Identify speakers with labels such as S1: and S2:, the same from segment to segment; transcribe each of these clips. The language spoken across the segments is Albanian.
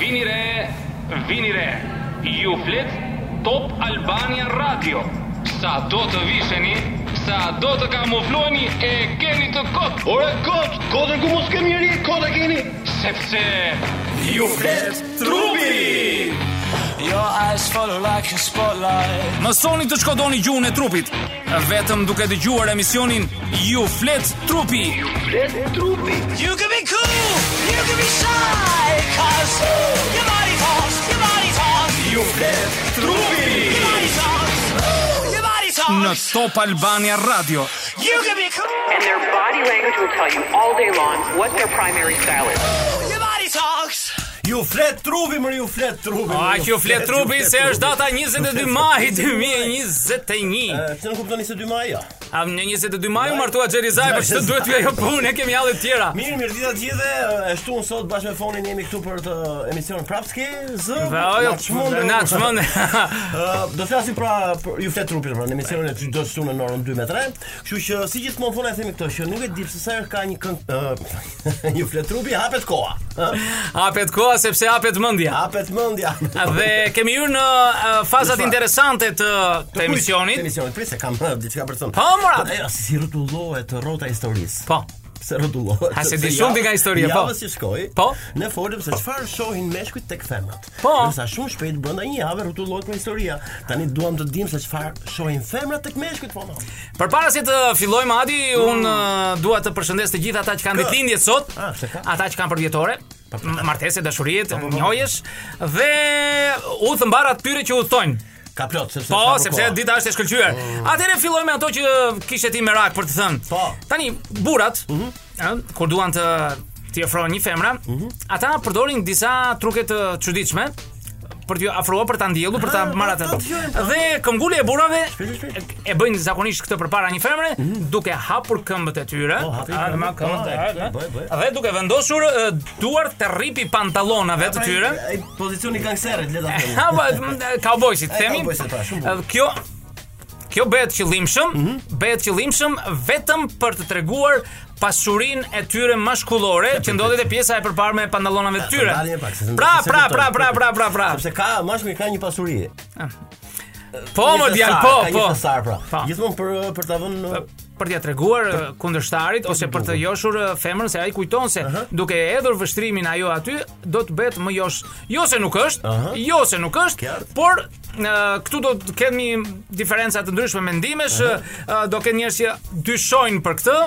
S1: Vini re, vini re. Ju flet Top Albania Radio. Sa do të visheni, sa do të kamufloheni e keni të kot,
S2: Ore kot, kodën ku mos kemi njerë, kod e keni.
S1: sepse
S3: Ju flet trupi
S4: Your eyes follow like a spotlight.
S3: Mësoni të shkodoni gjuhën e trupit Vetëm duke dëgjuar emisionin Ju flet trupi
S2: Flet trupi.
S4: You can be cool, you can be shy, cause ooh, your body talks, your body talks,
S3: Ju flet
S4: your
S3: trupi
S4: body talks, ooh, your body
S3: Në
S4: talks.
S3: Top Albania Radio
S4: You can be cool,
S5: And their body language will tell you all day long what their primary style is.
S4: ooh, your body talks.
S6: Ju flet trupi, më ju flet trupi.
S3: A
S6: mërë,
S3: kjo flet trupi se është
S6: trupi. Eh,
S3: data 22 maji 2021
S6: E, Pse nuk kuptoni se 2 maj? ja?
S3: A në 22 maju martua Gjerizaj Për që të duhet ju ajo punë e kemi hallet tjera
S6: Mirë, mirë dita të gjithëve. e, Është unë sot bashkë me fonin jemi këtu për të eh, emision prapë s'ke zë.
S3: Dhe ojo,
S6: na çmendë.
S3: na çmendë.
S6: Ë, do të flasim pra për- ju flet trupit pra në emisionin e çdo shtunë në orën 2 me 3. Kështu që si gjithmonë fona e themi këtë që nuk e di pse sa herë ka një këngë ë, ju flet trupi hapet koha. ë.
S3: Hapet koha sepse hapet mendja
S6: Hapet mendja.
S3: Dhe kemi hyrë në uh, fazat
S6: Në çfarë?
S3: interesante të,
S6: Të
S3: të
S6: Të
S3: emisionit.
S6: Emisionit, pse kam eh, diçka për të thënë.
S3: Po, mora.
S6: Ajo, si si rrotullohet rrota e historisë.
S3: Po.
S6: Pse rrotullohet?
S3: Ha, se
S6: Sepse
S3: di shumë ti nga historia, po.
S6: Javës që shkoi.
S3: Po.
S6: Ne folëm se çfarë shohin meshkujt tek femrat.
S3: Po.
S6: Nësa shumë shpejt brenda një jave rrotullohet për historia. Tani duam të dim se çfarë shohin femrat tek meshkujt po. no.
S3: Përpara se të fillojmë Adi, un uh, dua të përshëndes të gjithë ata që kanë ditëlindje sot,
S6: Mm. Ah, se ka. Po,
S3: ata që kanë përvjetore, m- martese, dashuriet, njohjesh dhe u thëmbar atyre që u thojnë.
S6: Ka plot sepse
S3: Po,
S6: s'ka për
S3: sepse
S6: koha.
S3: dita është e shkëlqyer. Atëherë fillojmë me ato që kishe ti merak për të thënë.
S6: Oh. Po. Mhm.
S3: Tani burat, ë, kur duan të t'i ofrojnë një femra, ata përdorin disa truke të çuditshme për t'ju afruar, për ta ndjellur, për ta
S6: Ah,
S3: marrë
S6: ato
S3: atë.
S6: t'gjojnë, po.
S3: Dhe këmbgulja e burrave
S6: Shpejt, shpejt.
S3: e bëjnë zakonisht këtë përpara një femre, duke hapur këmbët e tyre,
S6: Po, hapi
S3: a,
S6: këmbët,
S3: ma,
S6: po,
S3: këmbët,
S6: e,
S3: a, a,
S6: bëj, bëj.
S3: dhe duke vendosur ë, duart të rripi pantallonave të
S6: Pra,
S3: tyre.
S6: ai- ai Pozicioni kangserit, le ta
S3: Ha,
S6: themi.
S3: po, m, cowboysit,
S6: E,
S3: themi.
S6: cowboysit, pra, shumë bukur. Mhm.
S3: Kjo kjo bëhet qëllimshëm, bëhet qëllimshëm vetëm për të treguar pasurinë e tyre maskullore që ndodhet e pjesa e përparme e pantallonave të tyre.
S6: Ndalje pak, se se-
S3: Pra,
S6: se
S3: pra,
S6: kuptoj,
S3: pra, pra, pra, pra, pra.
S6: Sepse ka mashkuj ka një pasuri.
S3: Po,
S6: Ka
S3: më
S6: një
S3: djal,
S6: thesar,
S3: po,
S6: ka një
S3: po.
S6: thesar, pra.
S3: Po.
S6: Gjithmonë për për ta vënë në-
S3: për t'ia treguar eh, kundërshtarit ose për të joshur eh, femrën se ai kujton se duke e hedhur vështrimin ajo aty do të bëhet më josh. Jo se nuk është, jo se nuk është,
S6: Qartë.
S3: por eh, këtu do të kemi diferenca të ndryshme mendimesh, eh, do ketë njerëz që dyshojnë për këtë.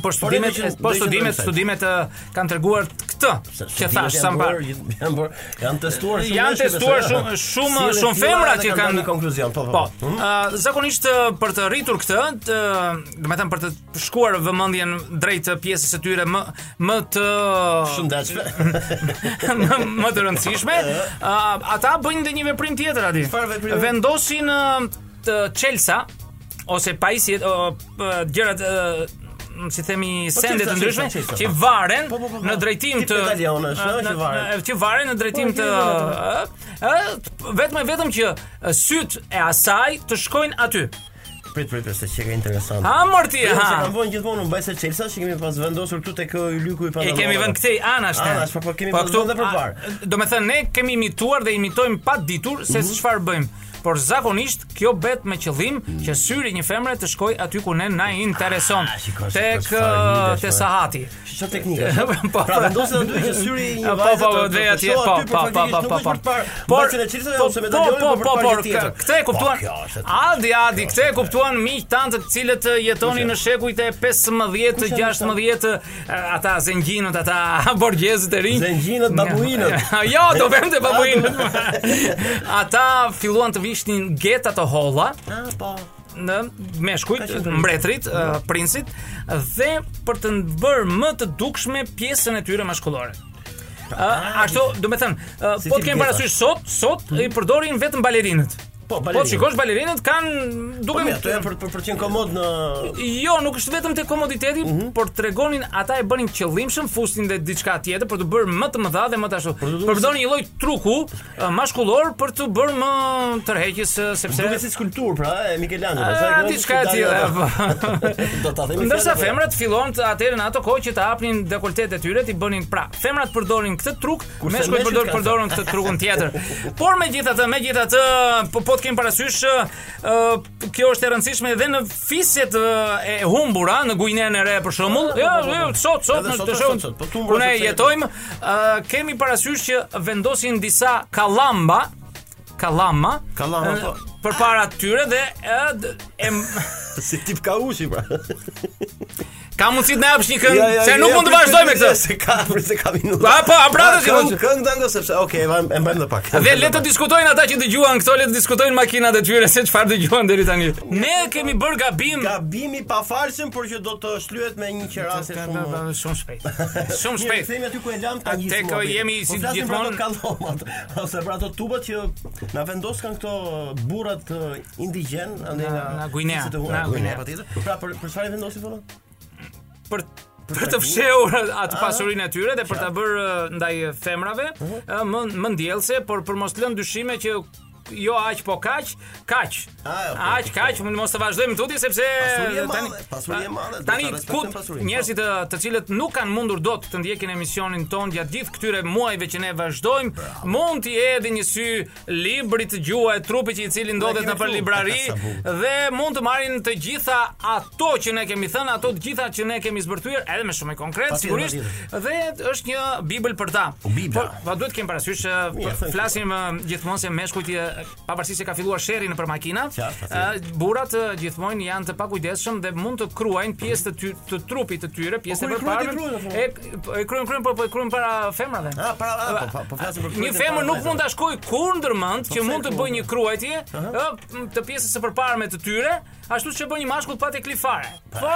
S3: Por studimet,
S6: do ishin-
S3: po
S6: do ishin
S3: studimet,
S6: ndryshe.
S3: studimet eh, kanë treguar këtë.
S6: Se-
S3: Që
S6: studimet
S3: thash
S6: janë
S3: sa më parë.
S6: bërë, gjithë- Janë bërë, janë testuar shumë.
S3: Janë
S6: meshkuj,
S3: testuar
S6: besoj.
S3: shumë shumë
S6: Sjellin
S3: shumë
S6: fillore
S3: femra
S6: dhe
S3: që
S6: dhënë
S3: kanë
S6: një konkluzion, po po.
S3: Po.
S6: po. Mhm.
S3: ë, zakonisht ë, për të rritur këtë, të, do të thënë për të shkuar vëmendjen drejt të pjesës së tyre më më të
S6: Shëndetshme.
S3: më, më të rëndësishme, ë, ata bëjnë dhe një veprim tjetër aty.
S6: Çfarë veprimi?
S3: Vendosin ë, të çelsa ose pajisje ë, p- gjërat ë, si themi sende
S6: çelsa,
S3: të ndryshme
S6: çelsa, çelsa,
S3: që
S6: po.
S3: varen
S6: Po, po, po, po.
S3: në drejtim
S6: Tip
S3: të
S6: medalionesh, ëh,
S3: në-
S6: që varen. Po,
S3: në- që varen në drejtim të ë, vetëm e vetëm që ë, syt e asaj të shkojnë aty.
S6: Prit prit prit se çka interesant.
S3: Ha morti,
S6: Jo, se
S3: ha.
S6: kanë vënë gjithmonë në mbajse Chelsea që kemi pas vendosur këtu tek ë, Ylyku
S3: E
S6: i Pantalonave.
S3: kemi vënë këtej anash ne.
S6: Anash, po, po, kemi pas
S3: këtu-
S6: vënë dhe për
S3: a-
S6: parë. Mhm.
S3: Do me thënë ne kemi imituar dhe imitojmë pa ditur se çfarë bëjmë. Por zakonisht kjo bet me qëllim që syri një femre të shkoj aty ku ne na intereson.
S6: Ah, shiko, shiko,
S3: Tek
S6: çfarë
S3: ë,
S6: ide,
S3: te
S6: çfarë.
S3: sahati.
S6: Çfarë teknika?
S3: Po,
S6: pra vendosen aty që syri i një
S3: Po,
S6: vajze.
S3: po,
S6: të- të
S3: dhe
S6: shohë
S3: atje,
S6: aty,
S3: po,
S6: por
S3: po, po,
S6: faktikisht
S3: po, po,
S6: nuk është
S3: po.
S6: për të parë
S3: Por,
S6: mbajtjen e Chelsea
S3: po,
S6: ose
S3: po,
S6: medalionin,
S3: po,
S6: por për
S3: po,
S6: parë
S3: por,
S6: gjë tjetër.
S3: kë- këtë e
S6: Po,
S3: kuptuan.
S6: kjo është e-
S3: Adi, adi, këtë e kuptuan miq tanë të cilët ë, jetonin në shekujt e 15, 16, ë, uh, ata zengjinët, ata borgjezët e rinj.
S6: Zengjinët, babuinët.
S3: jo, do vëmë te babuinët. ata filluan të vishnin geta të holla
S6: Ah, po.
S3: në meshkujt,
S6: Ka qenë
S3: mbretrit, ë, princit dhe për të bërë më të dukshme pjesën e tyre maskullore. Ë, ashtu, do të thënë, ë,
S6: Pra, Si
S3: po
S6: tip
S3: të kemi
S6: geta.
S3: parasysh sot, sot i përdorin vetëm balerinët.
S6: Po,
S3: Po
S6: balerinat.
S3: shikosh balerinat kanë
S6: Po, mirë,
S3: duken
S6: ato janë për për për të qenë komod në
S3: Jo, nuk është vetëm te komoditeti, por tregonin ata e bënin qëllimshëm, fusin dhe diçka tjetër për të bërë më të mëdha dhe më të ashtu. Përdorin një lloj truku ë, mashkullor për të bërë më tërheqjes ë, sepse
S6: duket si skulptur pra e Michelangelo.
S3: A,
S6: sa e kanë
S3: diçka e
S6: skulptarja,
S3: tillë,
S6: po. jo? Do ta themi.
S3: Ndërsa
S6: fjalën, po.
S3: femrat fillon të atëherë në ato kohë që të hapnin dekoltet e tyre, ti bënin pra. Femrat përdorin këtë truk,
S6: Kurse
S3: meshkujt
S6: meshkujt
S3: përdor
S6: kanë-
S3: përdorin këtë trukun tjetër. Por megjithatë, megjithatë, po po të kem parasysh, ë, kjo është e rëndësishme edhe në fiset ë, e humbura në Gujnen e Re për shembull.
S6: Po, po,
S3: Jo,
S6: po, po.
S3: jo, sot sot
S6: Edhe
S3: në
S6: sot,
S3: të
S6: sot,
S3: shohim.
S6: sot, po, tu
S3: Ku
S6: mbrojtë
S3: ne
S6: se-
S3: jetojmë, ë, kemi parasysh që vendosin disa kallamba, kallama,
S6: Kallama,
S3: ë,
S6: po.
S3: përpara tyre dhe ë, d- e
S6: si tip kaushi pra.
S3: Ka mundësi të na japësh një këngë, se nuk mund të vazhdoj me këtë.
S6: Se ka, se ka minuta.
S3: A, po, a, pra, dhe si
S6: këngë
S3: mund-
S6: këngë tango sepse okay, e mbajmë e mbajmë dhe pak.
S3: Dhe le të diskutojnë ata që dëgjuan këto, le të diskutojnë makinat e tyre se çfarë dëgjuan deri tani. Ne kemi bër gabim.
S6: Gabimi pa falsëm, por që do të shlyhet me një qerasë shumë.
S3: Shumë shpejt. Shumë
S6: Mirë,
S3: shpejt.
S6: Themi aty ku e lam ta
S3: A,
S6: gjithë.
S3: tek,
S6: mobi.
S3: jemi
S6: Po
S3: si
S6: flasim
S3: gjithmonë-
S6: për ato kallomat ose për ato tubat që na vendos kanë këto burrat eh, indigjen andaj
S3: Nga-
S6: nga
S3: nga Guinea,
S6: fiset e hu-
S3: nga
S6: nga Guinea
S3: Guinea.
S6: patjetër. Pra për për çfarë i vendosin vëlla?
S3: Për për të fshehur atë pasurinë e tyre dhe për ta bërë ë, ndaj uh, femrave
S6: Mhm.
S3: ë, më më ndjellse, por për mos të lënë dyshime që jo aq po kaq, kaq.
S6: Ah, okay.
S3: Aq kaq, mos të vazhdojmë tutje sepse uh,
S6: Pasuri e
S3: tani-
S6: madhe, pasuri e madhe, duhet
S3: Tani
S6: ta respektojmë
S3: kut
S6: pasurinë, po.
S3: njerëzit të, të cilët nuk kanë mundur dot të ndjekin emisionin ton gjatë gjithë këtyre muajve që ne vazhdojmë, mund t'i edhe një sy librit gjuha e trupit që i cili ndodhet
S6: kemi
S3: në për
S6: këtu.
S3: librari uh,
S6: Sa bukur.
S3: dhe mund të marrin të gjitha ato që ne kemi thënë, ato të gjitha që ne kemi zbërthyer, edhe me shumë e konkret
S6: Patjetër,
S3: sigurisht, dhe është një bibël për ta.
S6: Bibla.
S3: Por pa duhet të kem parasysh eh,
S6: Mirë,
S3: po,
S6: thënë.
S3: flasim eh, gjithmonë se meshkujt eh, pavarësisht se ka filluar sherri nëpër makina,
S6: Qartë,
S3: eh, Burrat ë, gjithmonë janë të pakujdesshëm dhe mund të kruajnë pjesë të, ty, të trupit të tyre, pjesë
S6: Po,
S3: të
S6: kur i kruajnë, i
S3: përparme.
S6: kruajnë,
S3: E k- e kryen kryen po po e kryen para femrave.
S6: Ah, para ah, po pa- po flasim për
S3: Një femër nuk mund ta shkojë kur ndërmend që
S6: Po, pse
S3: mund të
S6: kur
S3: bëjë një kruajtje ë, të pjesës së përparme të tyre, ashtu siç e bën një mashkull pa teklifare. Po,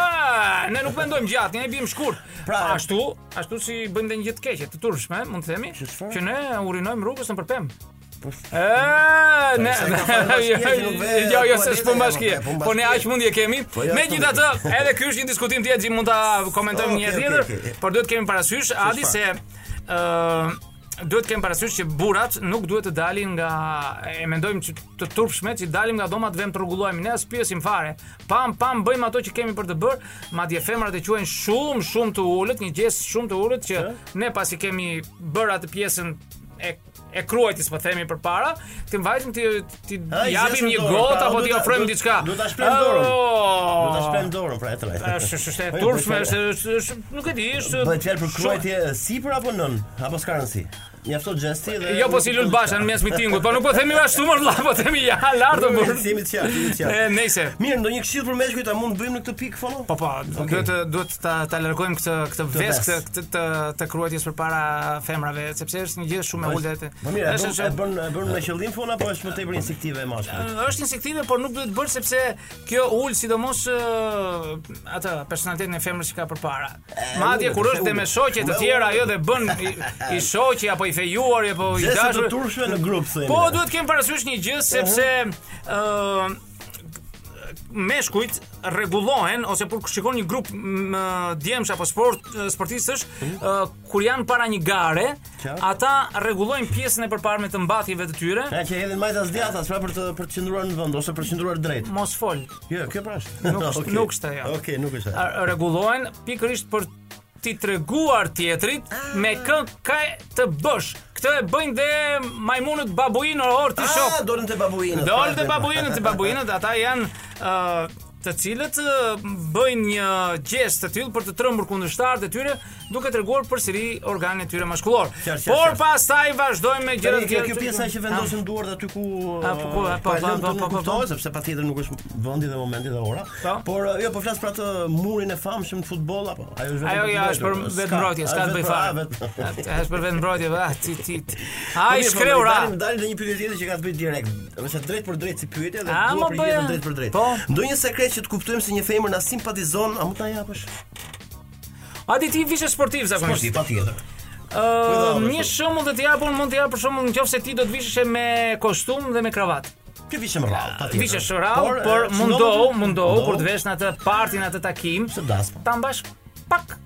S3: ne nuk mendojmë gjatë, ne i bëjmë shkurt.
S6: Pra,
S3: ashtu, ashtu si bëjmë dhe një gjë të keqe, të turshme, mund të themi,
S6: çfarë? Po,
S3: që ne urinojmë rrugës nëpër pemë. E, ne,
S6: pse ka falë bashkia që nuk ve
S3: jo, jo, se
S6: toalete,
S3: s'pun
S6: ja,
S3: bashkje,
S6: po, pun
S3: po ne
S6: bashkie.
S3: aq mundje kemi.
S6: ja, po,
S3: Megjithatë, edhe ky është një diskutim tjetër që mund ta komentojmë
S6: Okej,
S3: një herë
S6: okej,
S3: tjetër,
S6: okej.
S3: por duhet kemi parasysh Adi se ë duhet kemi parasysh që burrat nuk duhet të dalin nga e mendojmë që të turpshme që dalim nga domat vëm të rregullohemi ne as pjesim fare. Pam pam bëjmë ato që kemi për të bërë, madje femrat e quajnë shumë shumë të ulët, një gjesë shumë të ulët që ne pasi kemi bërë atë pjesën e e kruajtis po themi përpara, ti mbajtim ti ti
S6: Ha, i
S3: japim
S6: zjesim
S3: një
S6: dorën,
S3: gotë
S6: pra,
S3: apo
S6: duhet
S3: ti
S6: ta-
S3: ofrojmë
S6: duhet-
S3: diçka.
S6: duhet ta shprem dorën.
S3: Oh!
S6: Do ta shpem dorën pra e trajt.
S3: Është është është e turshme, është është- është- nuk e di, është
S6: Bëhet fjalë për
S3: shumë-
S6: kruajtje sipër apo nën? Apo s'ka rëndsi. Mjafton gjesti dhe
S3: Jo po si Lul Basha në mes mitingut, po nuk po themi ashtu më vëlla, po themi ja lartë
S6: Jemi
S3: por.
S6: të jemi të qartë, jemi të
S3: E
S6: qartë.
S3: nejse.
S6: Mirë, ndonjë këshill për meshkujt, a mund të bëjmë në këtë pikë fono?
S3: Po po, duhet të- duhet ta ta largojmë këtë këtë vesk
S6: vesk.
S3: të këtë të, të kruajtjes përpara femrave, sepse është një gjë shumë e ulët.
S6: Po mirë, e
S3: Është
S6: bën- e bën e bën me qëllim fon apo është më tepër instinktive e mashkullit?
S3: është insektive, por nuk duhet bërë sepse kjo ul sidomos ë, atë personalitetin e femrës që ka përpara. Madje
S6: ulet,
S3: kur
S6: e
S3: është dhe me
S6: ulet.
S3: shoqe të
S6: Me
S3: tjera
S6: ulet.
S3: ajo dhe bën i, i shoqi apo i fejuari apo i
S6: Gjese të
S3: dashur.
S6: turshme në grup thënë.
S3: Po duhet kem parasysh një gjë sepse ë meshkujt rregullohen ose kur shikon një grup m, djemsh apo sport sportistësh ë, kur janë para një gare,
S6: Qartë.
S3: ata rregullojnë pjesën e përparme të mbathjeve të tyre.
S6: Ja që hedhin majtas djathas, pra për të për të qëndruar në vend ose për të qëndruar drejt.
S3: Mos fol.
S6: Jo, kjo pra është.
S3: Nuk është-
S6: Okej.
S3: nuk është ajo.
S6: Okej, nuk është. ajo.
S3: A- rregullohen pikërisht për ti treguar tjetrit me kë ka të bësh. Këtë e bëjnë dhe majmunët babuinë orë ti shok.
S6: Ah, dolën te babuinat.
S3: Dol të babuinët, të babuinët, ata janë ë të cilët ë, bëjnë një gest të tillë për të trembur kundërshtarët e tyre, duke treguar përsëri organin e tyre maskullor.
S6: Qartë, qartë,
S3: Por
S6: qartë.
S3: pastaj vazhdojmë me gjëra
S6: Tani,
S3: të
S6: Kjo
S3: tjera.
S6: kjo pjesa që
S3: Ah.
S6: vendosin duart aty ku uh,
S3: A, po, po, po, po, po, po, po, po.
S6: kuptohet sepse patjetër nuk është vendi dhe momenti dhe ora.
S3: Po.
S6: Por eh, jo, po flas për atë murin e famshëm të futboll apo ajo është vetëm
S3: Ajo
S6: për
S3: ja është për
S6: mbrojtje, s'ka-
S3: vetë mbrojtje, s'ka
S6: a,
S3: të bëj
S6: vetëm- a,
S3: fare.
S6: vetëm-
S3: A, Është për vetë mbrojtje, ah, ti ti. ti. Ai
S6: Mirë, po,
S3: shkreu ra.
S6: Dalim dalim në një pyetje tjetër që ka të bëjë direkt. Ose drejt për drejt si pyetje dhe
S3: A, mo
S6: dua përgjigjem
S3: Ah, bëja.
S6: drejt për drejt.
S3: Po.
S6: Ndonjë sekret që të kuptojmë se një femër na simpatizon, a mund ta japësh?
S3: Po, A di ti vishe sportiv zakonisht?
S6: patjetër.
S3: Ë,
S6: Kujdo,
S3: një shembull të japun mund të jap për shembull nëse ti do të vishesh me kostum dhe me kravat.
S6: Kjo vishem rrallë, patjetër. eh,
S3: Vishesh Ah, rrallë, por
S6: e,
S3: mundohu,
S6: shëndohu-
S3: mundohu kur të vesh në atë partin atë takim,
S6: Pse das, po?
S3: ta mbash pak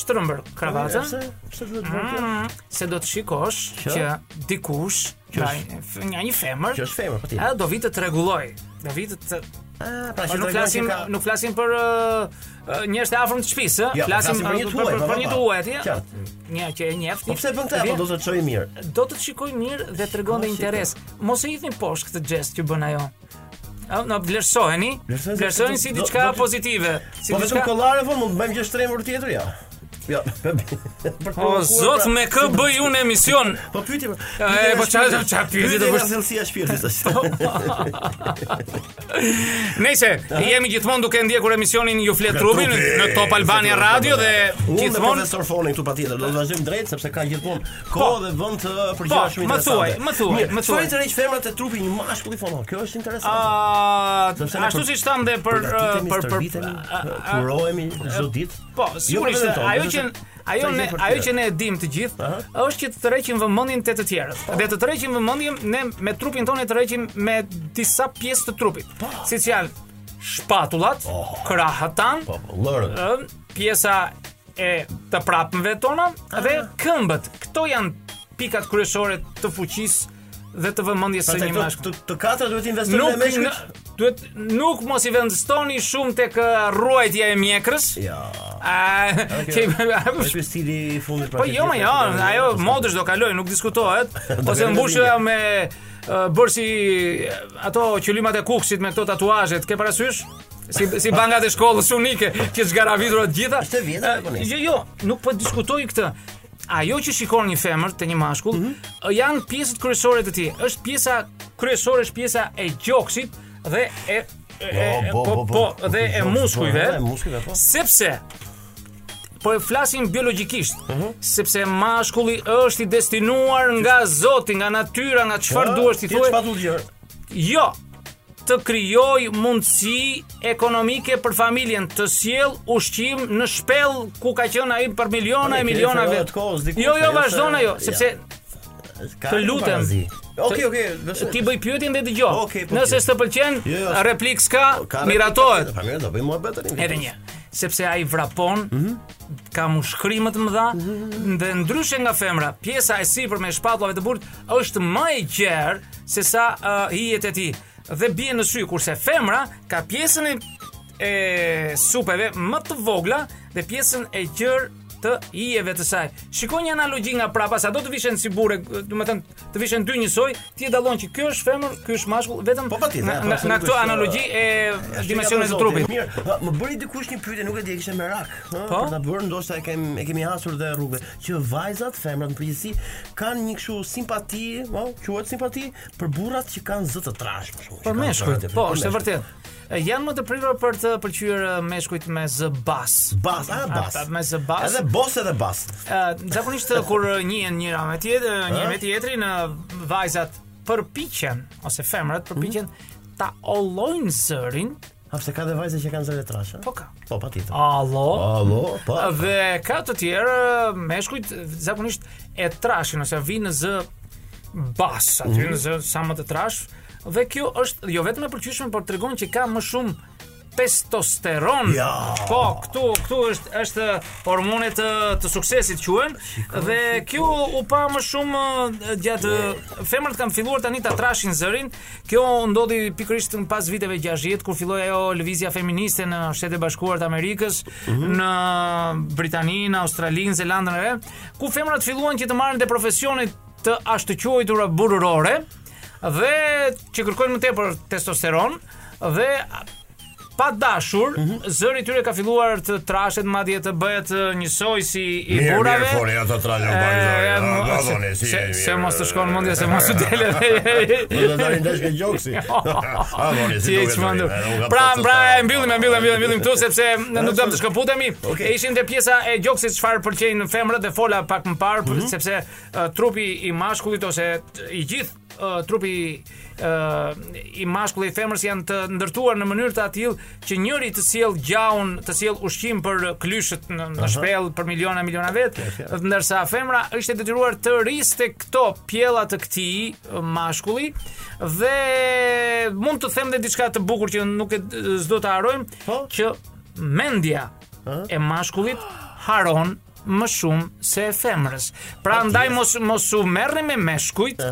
S3: shtrëmbër
S6: E,
S3: kravatën,
S6: Pse? Pse duhet të
S3: Ah.
S6: bëj kjo?
S3: se do të shikosh
S6: Që?
S3: që dikush nga f- nga një femër
S6: Kjo është femër,
S3: a
S6: patjetër.
S3: do vi të tregulloj. Do vi të të-
S6: Ah, pra
S3: Po
S6: që
S3: nuk flasim nuk flasim për ë, ë, njerëz të afërm të shtëpisë, ë?
S6: Jo, po
S3: flasim
S6: flasim për
S3: ë,
S6: një
S3: për-
S6: tuaj,
S3: për-
S6: po,
S3: për
S6: po,
S3: një
S6: po.
S3: tuaj atje.
S6: Qartë.
S3: Një që e njeft.
S6: Po pse bën këtë apo do të çojë mirë?
S3: do të të shikoj mirë dhe të regon dhe
S6: Ah, shiko.
S3: interes. Mos e hidhni poshtë këtë gjest që bën ajo. A, Na vlerësoheni,
S6: Vlerësoheni-
S3: vlerësoheni si
S6: do-
S3: diçka
S6: do- do-
S3: pozitive, si
S6: Po vetëm
S3: diçka
S6: kollare vonë mund të bëjmë gjë shtrembur tjetër ja. Jo. për të
S3: O
S6: provokuar,
S3: zot
S6: pra.
S3: me kë bëj unë emision.
S6: Po pyeti. pra,
S3: E,
S6: pyeti
S3: po
S6: nga
S3: çfarë-
S6: shpirti.
S3: çfarë pyeti do
S6: Pyeti nga
S3: bësh?
S6: thellësia e shpirtit është.
S3: Nëse jemi gjithmonë duke ndjekur emisionin Ju flet trupin Po, në Top Albania Radio dhe
S6: Unë me
S3: gjithmonë
S6: profesor Fonin këtu patjetër do të vazhdojmë drejt sepse ka gjithmonë
S3: Po.
S6: kohë dhe vend uh, të përgjigjeshme
S3: Po, më thuaj, më thuaj, Ah, më thuaj.
S6: Çfarë rresh femrat e trupi një mashkull i fonon? Kjo është interesante.
S3: a
S6: Sepse ne
S3: ashtu
S6: për-
S3: siç tham dhe për
S6: përgatitemi,
S3: për për
S6: stërvitemi,
S3: a- a-
S6: kurohemi çdo ditë.
S3: Po, sigurisht
S6: vetëm tonë,
S3: ajo
S6: por
S3: që
S6: sepse
S3: ajo
S6: sa gjë
S3: ne
S6: për
S3: ajo
S6: tjerë.
S3: që ne e dim të gjithë
S6: Aha. Po.
S3: është që të tërheqim vëmendjen te të tjerët. Dhe të tërheqim vëmendjen ne me trupin tonë e tërheqim me disa pjesë të trupit.
S6: Po.
S3: Siç janë shpatullat, krahët tan,
S6: Po, po, lërë.
S3: ë, pjesa e të prapëve tona
S6: Ah.
S3: dhe këmbët. Këto janë pikat kryesore të fuqisë dhe të vëmendjes së
S6: Pastaj
S3: një
S6: këto-
S3: mashkulli.
S6: Të, të katër duhet investojnë
S3: Nuk
S6: në meshkujt.
S3: n- duhet nuk mos i vendstoni shumë tek ë, ruajtja e mjekrës.
S6: Ja.
S3: A, që-
S6: Është ky stili i fundit pra.
S3: Po
S6: që
S3: jo, më
S6: gjithë
S3: jo,
S6: këto-
S3: ajo modësh do kaloj, nuk diskutohet, ose
S6: kaloj
S3: mbushja
S6: linja.
S3: me ë, bërë si ë, ato qëllimat e kuksit me këto tatuazhet, ke parasysh? Si si bangat e shkollës unike që zgaravitura të gjitha.
S6: Është e vjetër apo
S3: Ë,
S6: ne?
S3: Jo, jo, nuk po diskutoj këtë. Ajo që shikon një femër te një mashkull, ë, janë pjesët kryesore të tij. Është pjesa kryesore, është pjesa e gjoksit dhe e e- e-
S6: Po, po,
S3: po,
S6: po,
S3: po,
S6: po.
S3: dhe e
S6: Po,
S3: muskujve.
S6: e muskujve, po.
S3: Sepse po e flasim biologjikisht,
S6: Mhm.
S3: sepse mashkulli është i destinuar nga Zoti, nga natyra, nga çfarë duhet ti
S6: Ti
S3: thuaj,
S6: çfarë duhet gjë?
S3: jo të krijoj mundësi ekonomike për familjen, të sjell ushqim në shpellë ku ka qenë ai për miliona
S6: Po,
S3: e
S6: ne,
S3: miliona
S6: kjo
S3: vet.
S6: është kohës dikur,
S3: Jo, jo,
S6: ajo
S3: vazhdon
S6: është-
S3: ajo,
S6: ja.
S3: sepse
S6: Ka
S3: Të
S6: një
S3: lutem.
S6: parazi. Okej,
S3: Të-
S6: okej, besoj.
S3: ti bëj pyetjen dhe dëgjoj.
S6: Okej, po,
S3: Nëse
S6: okej.
S3: s'të pëlqen,
S6: Jo, jo,
S3: replik s'ka,
S6: Ka
S3: miratohet.
S6: Pa mirë, do bëjmë muhabet tani.
S3: Edhe një, sepse ai vrapon,
S6: Mhm.
S3: ka mushkrime të mëdha, dhe ndryshe nga femra, pjesa e sipërme e shpatullave të burrit është më e gjerë se sa uh, hijet e tij dhe bie në sy, kurse femra ka pjesën e, e supeve më të vogla dhe pjesën e gjerë të hijeve të saj. Shikoj një analogji nga prapa, sa do të vishen si burë, do të thënë të vishen dy njësoj, ti e dallon që ky është femër, ky është mashkull, vetëm
S6: Po, patjetër,
S3: nga,
S6: po,
S3: nga, nga
S6: absolutisht,
S3: këto
S6: ë,
S3: analogji e
S6: Ashtu
S3: dimensionet
S6: ka
S3: të
S6: për zotin.
S3: trupit.
S6: Mirë, ha, më bëri dikush një pyetje, nuk e di, e kishe merak, ha,
S3: Po?
S6: për ta bërë, ndoshta e kem e kemi hasur dhe rrugë, që vajzat, femrat në përgjithësi kanë një kështu simpati, po, quhet simpati për burrat që kanë zë të trash për shkak.
S3: Për meshkujt, po, është e vërtetë. E, Janë më të prirur për të pëlqyer e, meshkujt me zë bas.
S6: Bas, a bas.
S3: Ata me zë bas.
S6: Edhe bos edhe bas.
S3: Ë, Uh, zakonisht e, kur e, njihen njëra me tjetër, një me tjetrin, e, vajzat përpiqen ose femrat përpiqen ta ollojnë zërin,
S6: A pse ka dhe vajza që kanë zë të trash?
S3: po ka.
S6: Po, patjetër.
S3: Allo.
S6: Allo, po.
S3: Dhe ka të tjerë uh, meshkujt zakonisht e trashin ose vinë në zë bas, aty në zë sa më të trash dhe kjo është jo vetëm e pëlqyeshme, por tregon që ka më shumë testosteron.
S6: Ja.
S3: Po, këtu këtu është është hormone të të suksesit quhen dhe kjo u pa më shumë eh, gjatë femrat kanë filluar tani ta trashin zërin. Kjo ndodhi pikërisht në pas viteve 60 kur filloi ajo lëvizja feministe në Shtetet e Bashkuara të Amerikës, në Britaninë, Australinë, Zelandën e Re, ku femrat filluan që të marrin te profesionet të ashtë të quajtura bururore dhe që kërkojnë më tepër testosteron dhe pa dashur, zëri i tyre ka filluar të trashet, madje të bëhet e, njësoj si i
S7: Mirë,
S3: burrave.
S7: mirë, fori, ato trashën
S3: E,
S7: pak zëri,
S3: e,
S7: a,
S3: mo-
S7: a,
S3: se-
S7: doni, si
S3: se-
S7: jeni,
S3: Se
S7: mirë.
S3: mos të shkon mendja se mos u dele.
S7: Do të dalin dash ke gjoksi. A voni si eh,
S3: Ti e
S7: duhet.
S3: çmendur. Pra, pra e mbyllim, e mbyllim, e mbyllim, e mbyllim këtu sepse nuk dam të shkëputemi. E Ishin te pjesa e gjoksit çfarë pëlqejnë femrat dhe fola pak më parë për- sepse e, trupi i mashkullit ose t- i gjithë ë, trupi ë, i mashkullit dhe i femrës janë të ndërtuar në mënyrë të atillë që njëri të sjell gjaun, të sjell ushqim për klyshët në, në shpellë për miliona miliona vet, ndërsa femra është e detyruar të riste këto pjella të këtij ë, mashkulli dhe mund të them dhe diçka të bukur që nuk e s'do ta harojmë,
S6: Po?
S3: që mendja e mashkullit haron më shumë se e femrës. Pra ndaj mos mos u merrni me meshkujt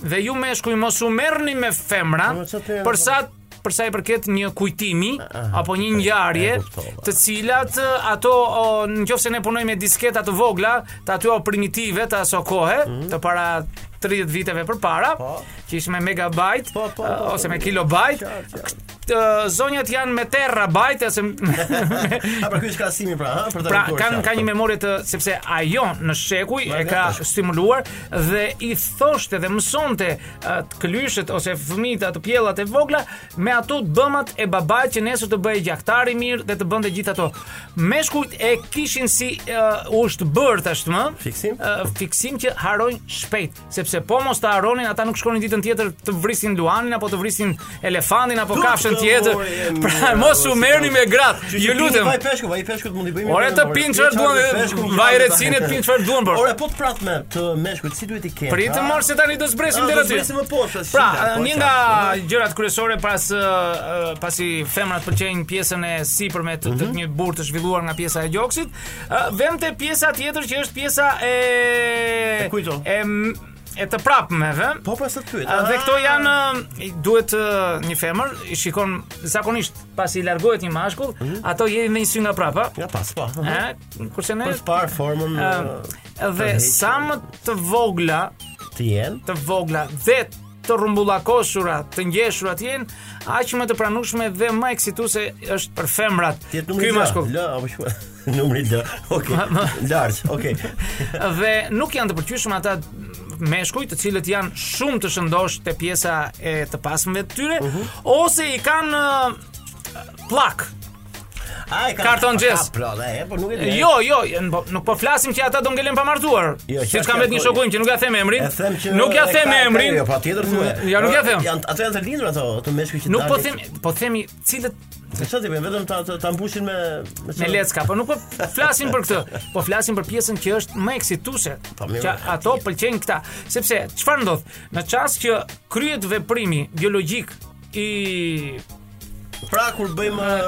S3: dhe ju meshkuj mos u merrni me femrat,
S6: Po, çfarë të-
S3: për sa për sa i përket një kujtimi apo një ngjarje
S6: e kuptova.
S3: të cilat ë, ato o, në qoftë se ne punojmë me disketa të vogla, të aty o primitive të aso kohe,
S6: Mhm.
S3: të para 30 viteve përpara, që ishte me megabajt
S6: Po, po, po,
S3: ë, ose me
S6: po,
S3: kilobajt,
S6: qartë, qartë.
S3: Të zonjat janë me terabajt ose
S6: A për ky është krahasimi pra, ha, për ta
S3: pra
S6: kuptuar
S3: kanë
S6: qartë.
S3: ka një memorie të sepse ajo në shekuj e
S6: ne
S3: ka
S6: tash.
S3: stimuluar dhe i thoshte dhe mësonte uh, të këlyshët ose fëmijët ato pjellat e vogla me ato dëmat e babait që nesër të bëhej gjaktar i mirë dhe të bënte gjithë ato. Meshkujt e kishin si uh, ushtë bërë tashmë
S6: Fiksim?
S3: ë, fiksim që harojnë shpejt, sepse po mos ta haronin ata nuk shkonin ditën tjetër të vrisin luanin apo të vrisin elefantin apo
S6: Duh,
S3: kafshën
S6: të
S3: tjetër.
S6: more, e
S3: Pra
S6: mira,
S3: mos
S6: o,
S3: u
S6: si
S3: merrni
S6: ka-
S3: me gratë.
S6: Që
S3: Ju
S6: që
S3: lutem.
S6: Vaj peshku, vaj peshkut mund i bëjmë.
S3: Ore, të pinë çfarë duan, vaj recine, pinë çfarë duan, por.
S6: Ore, po të prat me të meshkut, si duhet i kenë?
S3: Pritë
S6: ha?
S3: mor se tani do zbresim
S6: Ah,
S3: deri
S6: do
S3: aty.
S6: zbresim më poshtë, si
S3: Pra,
S6: da, po,
S3: një
S6: qartë,
S3: nga
S6: qartë.
S3: gjërat kryesore pas ë, ë, pasi femrat pëlqejnë pjesën e sipërme të, të
S6: Mhm.
S3: një burrë të zhvilluar nga pjesa e gjoksit, ë, vëm te pjesa tjetër që është pjesa e
S6: E kujto?
S3: E, m- e të prapmeve.
S6: Po pra sa të pyet.
S3: A, Dhe këto janë ë, i- duhet ë, një femër i shikon zakonisht pasi i largohet një mashkull, ato jeni me një sy nga prapa.
S6: Mhm. Ja Po, pas, po.
S3: Ë, kurse ne
S6: Për të parë formën
S3: Ah.
S6: uh,
S3: ë, dhe
S6: Tërheqje.
S3: sa më të vogla,
S6: të jenë.
S3: të vogla dhe të rumbullakosura, të ngjeshura të jenë, aq më të pranueshme dhe më eksituese është për femrat.
S6: Ti jetë numri D.
S3: mashkull.
S6: L, apo shkua. Numri D. Okej. Large, okej.
S3: Dhe nuk janë të përqyshëm ata meshkuj të cilët janë shumë të shëndosh te pjesa e të pasmëve të tyre
S6: Mhm.
S3: ose i kanë ë, plak.
S6: Ai ka
S3: Karton gjes.
S6: Ka plot, e, po nuk e di.
S3: Jo, jo, n- po- nuk po flasim që ata do ngelen pa martuar.
S6: Jo,
S3: Siç
S6: qartë,
S3: kam vetë një
S6: qartë,
S3: shokuim që nuk ja them emrin.
S6: E them që
S3: Nuk ja
S6: e
S3: them
S6: ka- ka-
S3: emrin. Mm,
S6: Jo, patjetër thua.
S3: Ja, nuk ja them.
S6: Janë ato janë të lindur ato, të meshkuj që
S3: Nuk po
S6: dalin.
S3: them, po themi cilët
S6: Se çfarë ti bën, vetëm ta ta- ta mbushin me
S3: me lecka, po nuk po flasim për këtë, po flasim për pjesën që është më eksituese.
S6: Po, mirë,
S3: Që ato pëlqejnë këta, sepse çfarë ndodh? Në çast që kryhet veprimi biologjik i
S6: Pra kur bëjmë
S3: në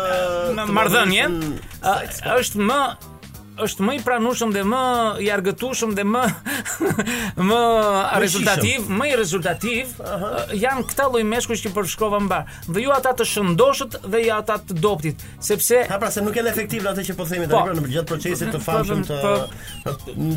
S6: të
S3: marrëdhënie,
S6: marrëdhënien,
S3: ë, është më është më i pranueshëm dhe më i argëtueshëm dhe më më rezultativ, më i rezultativ ë, janë këta lloj meshkuj që përshkova mbar. Dhe ju ata të shëndoshët dhe ju ata të doptit, sepse
S6: Ha pra se nuk janë efektiv atë që po themi
S3: Po.
S6: tani pra, në gjatë procesit të famshëm të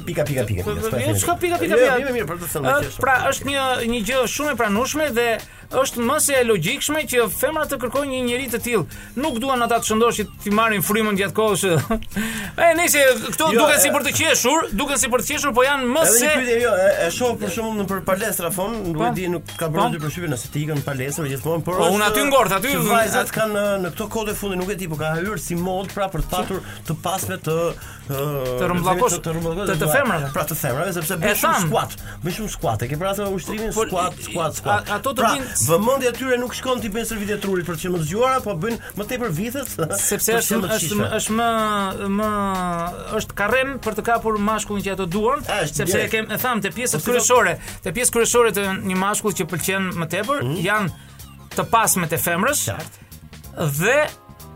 S6: pika pika pika.
S3: Po,
S6: pika, s'pa e
S3: jo,
S6: themi.
S3: çka pika pika
S6: Jo,
S3: pika.
S6: Mirë, mirë, për të thënë.
S3: Ë,
S6: thjesht,
S3: Pra
S6: okay.
S3: është një një gjë shumë e pranueshme dhe është më se e logjikshme që femra të kërkojnë një njerëz të tillë. Nuk duan ata të shëndoshit ti marrin frymën gjatë kohës. e nice, këto
S6: Jo,
S3: duken
S6: e-
S3: si për të qeshur, duken si për të qeshur, po janë më
S6: Edhe
S3: se
S6: një pyetje jo, e, e shoh për shembull në për palestra fon, nuk e
S3: Po.
S6: di, nuk ka
S3: Po.
S6: bërë dy përshtypje nëse ti ikën në palestra gjithmonë, por
S3: Po, unë aty ngort, aty-
S6: që vajzat kanë e, në këto kohë të fundit nuk e di, po ka hyrë si mod pra për të patur të pasme të e,
S3: Të rëmbllakosh-
S6: të rëmbllakosh-
S3: të- të femrave.
S6: Pra të femrave sepse bën
S3: tham.
S6: shumë squat, bën shumë squat. E ke pra atë ushtrimin
S3: Po,
S6: squat, squat, squat.
S3: a- ato të
S6: Pra,
S3: bëjnë-
S6: vëmendja e tyre nuk shkon ti bën shërbitë trurit për të qenë më të zgjuara, po bëjnë më tepër vithet.
S3: sepse
S6: për
S3: është
S6: të qenë më të
S3: është
S6: shishme.
S3: është më më është karrem për të kapur mashkullin që ato duan,
S6: A, është
S3: sepse e
S6: direkt.
S3: kem e tham te pjesët
S6: Ose do-
S3: kryesore, te pjesë kryesore të një mashkull që pëlqen më tepër janë të pasmet e femrës.
S6: Hmm? Qartë.
S3: dhe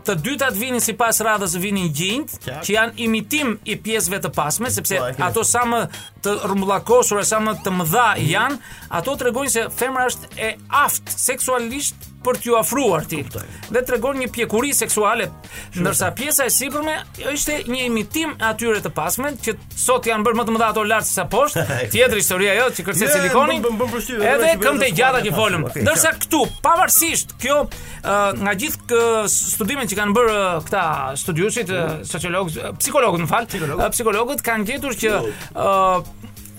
S3: të dytat vinin sipas radhës vinin gjinjt,
S6: Qartë.
S3: që janë imitim i pjesëve të pasme, sepse
S6: Po, e ke.
S3: ato sa më të rrumbullakosura, sa më të mëdha janë, ato tregojnë se femra është e aftë seksualisht për t'ju afruar ti. Dhe tregon një pjekuri seksuale, ndërsa pjesa e sipërme është një imitim e atyre të pasme që sot janë bërë më të mëdha ato lart se sa poshtë, tjetër historia ajo që kërcen
S6: Jo, jo,
S3: silikoni.
S6: bëm- bëm- bëm përshtypje,
S3: Edhe
S6: vetëm
S3: këmbë të
S6: që bëjmë të
S3: gjata
S6: skuadra
S3: që
S6: pas,
S3: folëm.
S6: okay,
S3: Ndërsa këtu, pavarësisht kjo ë, nga gjithë kë, studimet që kanë bërë ë, këta studiuesit, ë,
S6: Mm-hmm.
S3: sociologët, ë, psikologët, më fal, ë, psikologët kanë gjetur që ë,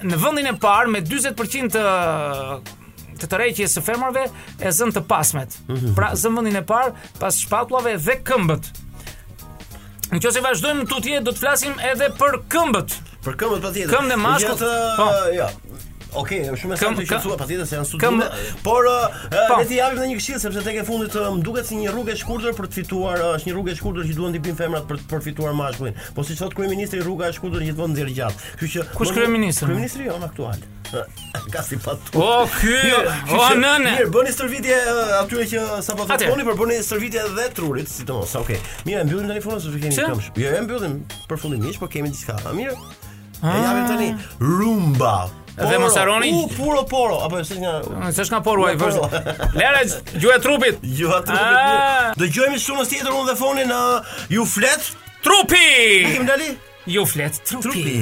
S3: në vendin e parë me 40% të të tërheqjes së femrave e zënë të pasmet.
S6: Mm-hmm.
S3: Pra zën vendin e parë pas shpatullave dhe këmbët. Në qoftë se vazhdojmë tutje do të flasim edhe për këmbët.
S6: Për këmbët patjetër.
S3: Këmbën e mashkullt,
S6: Megjithatë,
S3: po.
S6: jo. Okej, është shumë e
S3: Këm-
S6: saktë që
S3: këm-
S6: thua patjetër se janë
S3: këm-
S6: studiume, por ë, ë,
S3: Po.
S6: le t'i japim edhe një këshill sepse tek e fundit ë, më duket si një rrugë e shkurtër për të fituar, ë, është një rrugë e shkurtër që duan t'i bëjnë femrat për të përfituar mashkullin. Po siç thot kryeministri, rruga e shkurtër gjithmonë nxjerr gjatë. Kështu që
S3: Kush kryeministri?
S6: Kryeministri jon aktual. Ë, Ka si patu.
S3: O, ky,
S6: kështu
S3: Jo, o,
S6: që,
S3: nëne.
S6: Mirë, bëni stërvitje ë, atyre që sapo
S3: Atëherë.
S6: thonë, por bëni stërvitje edhe trurit, sidomos. Okej. Mirë, e mbyllim tani fonon sepse kemi
S3: Pse?
S6: këmsh. Jo, e mbyllim përfundimisht, por kemi diçka. A, Mirë. E japim tani rumba.
S3: Ah. Dhe mos harroni-
S6: U puro poro apo është nga
S3: S'është nga poruaj
S6: Nga
S3: vëzë.
S6: porua.
S3: Lera gjuhë e trupit.
S6: ju Jo, atë nuk e
S3: Ah.
S6: di. Dëgjojmë shtunës tjetër unë dhe fonin uh, ju flet.
S3: Trupi!
S6: Kim dali?
S3: Ju flet trupi.
S6: Trupi.